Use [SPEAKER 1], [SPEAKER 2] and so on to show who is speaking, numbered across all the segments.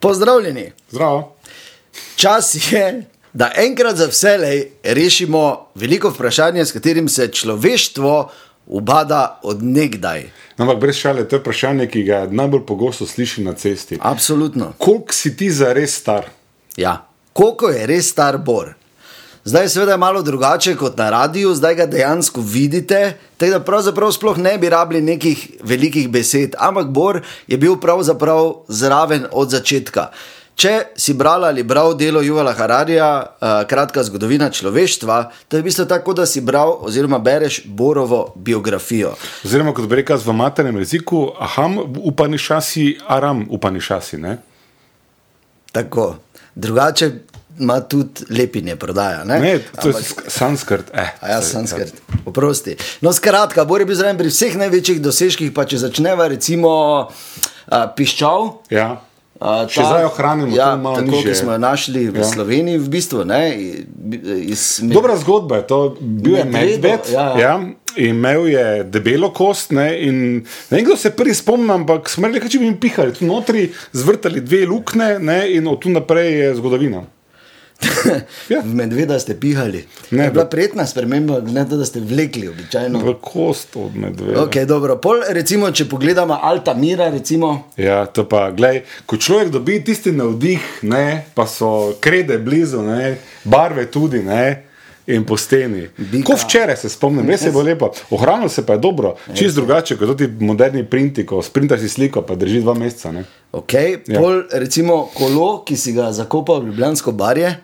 [SPEAKER 1] Pozdravljeni!
[SPEAKER 2] Zdravo.
[SPEAKER 1] Čas je, da enkrat za vselej rešimo veliko vprašanje, s katerim se človeštvo ubada odnegdaj.
[SPEAKER 2] Ampak brez šale, to je vprašanje, ki ga najbolj pogosto slišim na cesti.
[SPEAKER 1] Absolutno.
[SPEAKER 2] Kolik si ti za res star?
[SPEAKER 1] Ja. Koliko je res star Bor? Zdaj, seveda, je malo drugače kot na radiju, zdaj ga dejansko vidite, tako da pravzaprav sploh ne bi rabili nekih velikih besed, ampak Bor je bil pravzaprav zraven od začetka. Če si brala ali bral delo Juvala Hararija, eh, kratka zgodovina človeštva, to je v bistvu tako, da si bral oziroma bereš Borovo biografijo.
[SPEAKER 2] Oziroma, kot bi rekel v maternem jeziku, aham, upani šasi, aram, upani šasi. Ne?
[SPEAKER 1] Tako. Drugače ima tudi lepinje prodaja. Ne?
[SPEAKER 2] Ne, to je sk- sanskrt. Eh,
[SPEAKER 1] Eh, A ja,
[SPEAKER 2] sorry,
[SPEAKER 1] sanskrt, oprosti. No, skratka, Bor je bil zraven pri vseh največjih dosežkih, pa če začneva recimo uh, piščal.
[SPEAKER 2] Ja.
[SPEAKER 1] a,
[SPEAKER 2] Še
[SPEAKER 1] ta-
[SPEAKER 2] zdaj ohranimo,
[SPEAKER 1] ja,
[SPEAKER 2] to je malo
[SPEAKER 1] tako,
[SPEAKER 2] nižje.
[SPEAKER 1] ki smo jo našli v ja.
[SPEAKER 2] Ja.
[SPEAKER 1] Sloveniji, v bistvu. Ne, i- bi- iz, med-
[SPEAKER 2] Dobra zgodba je to. Bil je
[SPEAKER 1] Medvedo,
[SPEAKER 2] medved,
[SPEAKER 1] ja.
[SPEAKER 2] ja. Ja, imel je debelo kost. Ne, in, ne vem, kdo se prvi spomni, ampak smrdi, če bi jim pihali. Tu notri zvrtali dve luknje ne, in od tu naprej je zgodovina. ja.
[SPEAKER 1] v medveda ste pihali.
[SPEAKER 2] Ne,
[SPEAKER 1] Ne, je bila
[SPEAKER 2] da-
[SPEAKER 1] prijetna sprememba, ne to, da ste vlekli običajno.
[SPEAKER 2] V kost od medveda.
[SPEAKER 1] Okay, dobro. Pol, recimo, če pogledamo Altamira, recimo,
[SPEAKER 2] Ja, to pa, glej, ko človek dobi tisti navdih, ne, pa so krede blizu, ne, barve tudi, ne, in po steni.
[SPEAKER 1] Bika.
[SPEAKER 2] Kot včeraj se spomnim, res je bilo lepo. Ohranilo se pa je dobro, čist drugače kot ti moderni printi, ko sprintaš si sliko, pa drži dva meseca. Ne.
[SPEAKER 1] okay,
[SPEAKER 2] Ja.
[SPEAKER 1] pol, recimo kolo, ki si ga zakopal v Ljubljansko barje.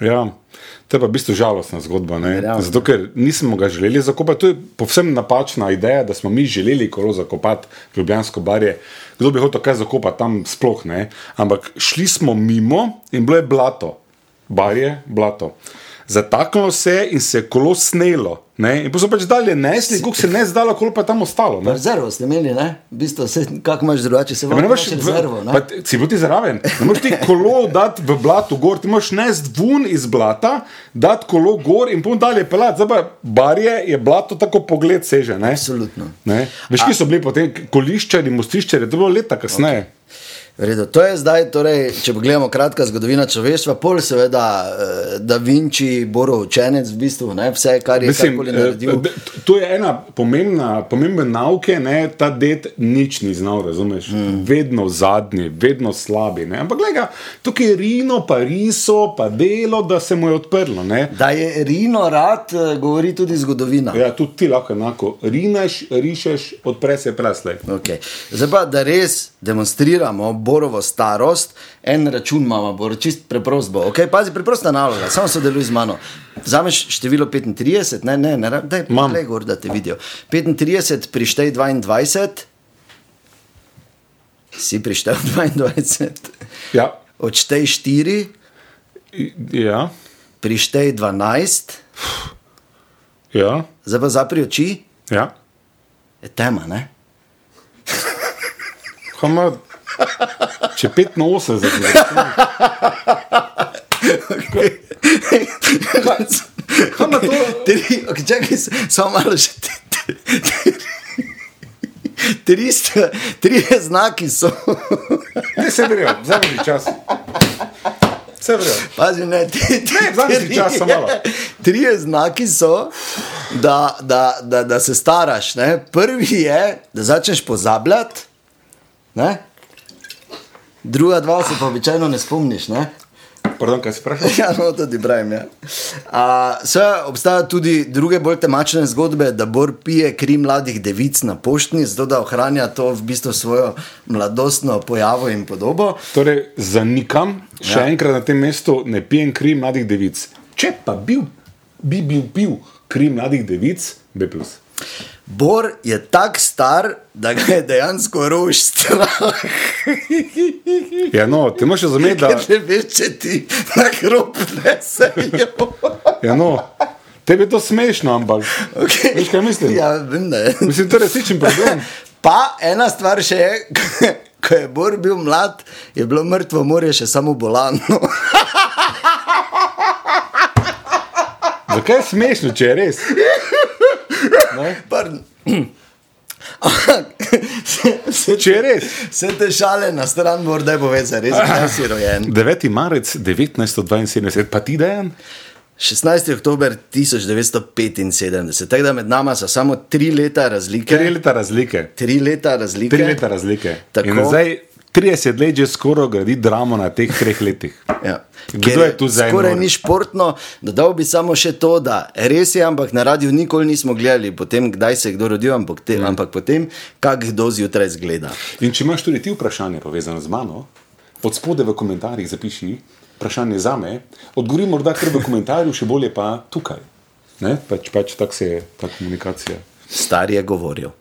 [SPEAKER 2] Ja, to je pa v bistvu žalostna zgodba. Ne?
[SPEAKER 1] Verjamem.
[SPEAKER 2] Zato, ker nismo ga želeli zakopati. To je povsem napačna ideja, da smo mi želeli kolo zakopati, ljubljansko barje. Kdo bi hotel kaj zakopati tam, sploh ne. Ampak šli smo mimo in bilo je blato, barje, blato. Zataknilo se je in se je kolo snelo. Ne? In pa so pač dalje nesli, koliko se je ne zdalo, koliko pa je tam ostalo. Ne?
[SPEAKER 1] Rezervo ste imeli, ne? V bistvu, se, kako imaš drugače, se
[SPEAKER 2] Ja, pa
[SPEAKER 1] vam
[SPEAKER 2] ne
[SPEAKER 1] imaš
[SPEAKER 2] moreš v-
[SPEAKER 1] rezervo. Ne?
[SPEAKER 2] pa ti- Si bil ti zraven. Ne moreš ti kolo dati v blato gor, ti moraš nest ven iz blata, dati kolo gor in potem dalje pelati. Zdaj pa barje je blato tako pogled seže. Ne?
[SPEAKER 1] Absolutno.
[SPEAKER 2] Ne? Veš, ki so bili potem koliščari, mostiščari, to je bilo leta kasneje.
[SPEAKER 1] V Redu, to je zdaj, torej, če pogledamo kratka zgodovina človeštva, pol seveda eh, Da Vinci, Borov učenec, v bistvu ne, vse, kar je
[SPEAKER 2] Mislim,
[SPEAKER 1] karkoli
[SPEAKER 2] eh,
[SPEAKER 1] naredil.
[SPEAKER 2] d- to je ena pomembna, pomembna nauka, ne, ta det nič ni znal, razumeš? Mm. Vedno zadnji, vedno slabi. Ne? Ampak gledaj, tukaj je Rino, pa Riso, pa delo, da se mu je odprlo. Ne?
[SPEAKER 1] Da je Rino rad, eh, govori tudi zgodovina.
[SPEAKER 2] Ja, tudi ti lahko enako. Rinaš, rišeš, odpre se preslej.
[SPEAKER 1] Okay. Zdaj pa, da res demonstriramo borovo starost, en račun imamo, bor, čist preprost bo. Okay? Pazi, preprosta naloga, samo sodeluj z mano. Zameš število 35, ne, ne, ne, da je
[SPEAKER 2] Imam.
[SPEAKER 1] le gor, da te vidijo. 35 prištej 22, si prištel 22,
[SPEAKER 2] Ja,
[SPEAKER 1] odštej 4,
[SPEAKER 2] I- ja,
[SPEAKER 1] prištej 12,
[SPEAKER 2] ja,
[SPEAKER 1] zdaj pa zapri oči,
[SPEAKER 2] ja.
[SPEAKER 1] je tema, ne?
[SPEAKER 2] Hama, če 85 zgledaj. Kaj ima to?
[SPEAKER 1] Tri, okay, čakaj, s- samo malo še. Tri, tri, tri, tri znaki so.
[SPEAKER 2] Ne se vrijo, vzemi mi čas. Se vrijo.
[SPEAKER 1] Pazi, ne, tri,
[SPEAKER 2] Ne, vzemi si čas, samo malo.
[SPEAKER 1] Tri znaki so, da, da, da, da se staraš. Ne? Prvi je, da začneš pozabljati, ne? druga dva se pa običajno ne spomniš. Ne?
[SPEAKER 2] Pardon, kaj si vprašal?
[SPEAKER 1] Ja, no, tudi pravim. Ja. A, seveda obstajajo tudi druge bolj temačne zgodbe, da Bor pije kri mladih devic na poštni, zato da ohranja to v bistvu svojo mladostno pojavo in podobo.
[SPEAKER 2] Torej, zanikam, še
[SPEAKER 1] Ja.
[SPEAKER 2] ja. enkrat na tem mestu ne pijem kri mladih devic. Če pa bil, bi bil pil kri mladih devic, bi pil.
[SPEAKER 1] Bor je tak star, da ga je dejansko rož strah.
[SPEAKER 2] Ja, no, ti moraš razumeti, da.
[SPEAKER 1] Ker ne veš, če ti na grob nesejo.
[SPEAKER 2] Ja, no, tebi je to smešno, ampak.
[SPEAKER 1] Okay.
[SPEAKER 2] Veš, kaj mislim?
[SPEAKER 1] Ja, vem, da je.
[SPEAKER 2] Mislim, to je resničen problem.
[SPEAKER 1] Pa ena stvar še je, ko je Bor bil mlad, je bilo mrtvo morje še samo bolano.
[SPEAKER 2] Zakaj je smešno, če je res?
[SPEAKER 1] Pardon. se, se,
[SPEAKER 2] Če je res.
[SPEAKER 1] se te šale na stran, morda bo več zares, da si rojen.
[SPEAKER 2] 9. marec 1972, pa ti dejan?
[SPEAKER 1] 16. oktober 1975, tako da med nama so samo tri leta
[SPEAKER 2] Tri
[SPEAKER 1] razlike.
[SPEAKER 2] leta razlike.
[SPEAKER 1] Tri leta razlike.
[SPEAKER 2] Tri leta razlike.
[SPEAKER 1] Tako.
[SPEAKER 2] In zdaj 30 let že skoraj gradi dramo na teh treh letih.
[SPEAKER 1] Ja.
[SPEAKER 2] Kdo
[SPEAKER 1] Ker
[SPEAKER 2] je tu zdaj
[SPEAKER 1] Skoraj
[SPEAKER 2] nor?
[SPEAKER 1] ni športno, dodal bi samo še to, da res je, ampak na radiju nikoli nismo gledali, potem, kdaj se je kdo rodil, ampak,
[SPEAKER 2] Mm.
[SPEAKER 1] te, ampak potem, kako kdo zjutraj zgleda.
[SPEAKER 2] In če imaš tudi ti vprašanje povezano z mano, od spode v komentarjih zapiši vprašanje za me, odgovori morda kar v komentarju, še bolje pa tukaj. Ne? Pač, pač tako se je ta komunikacija.
[SPEAKER 1] Star je govoril.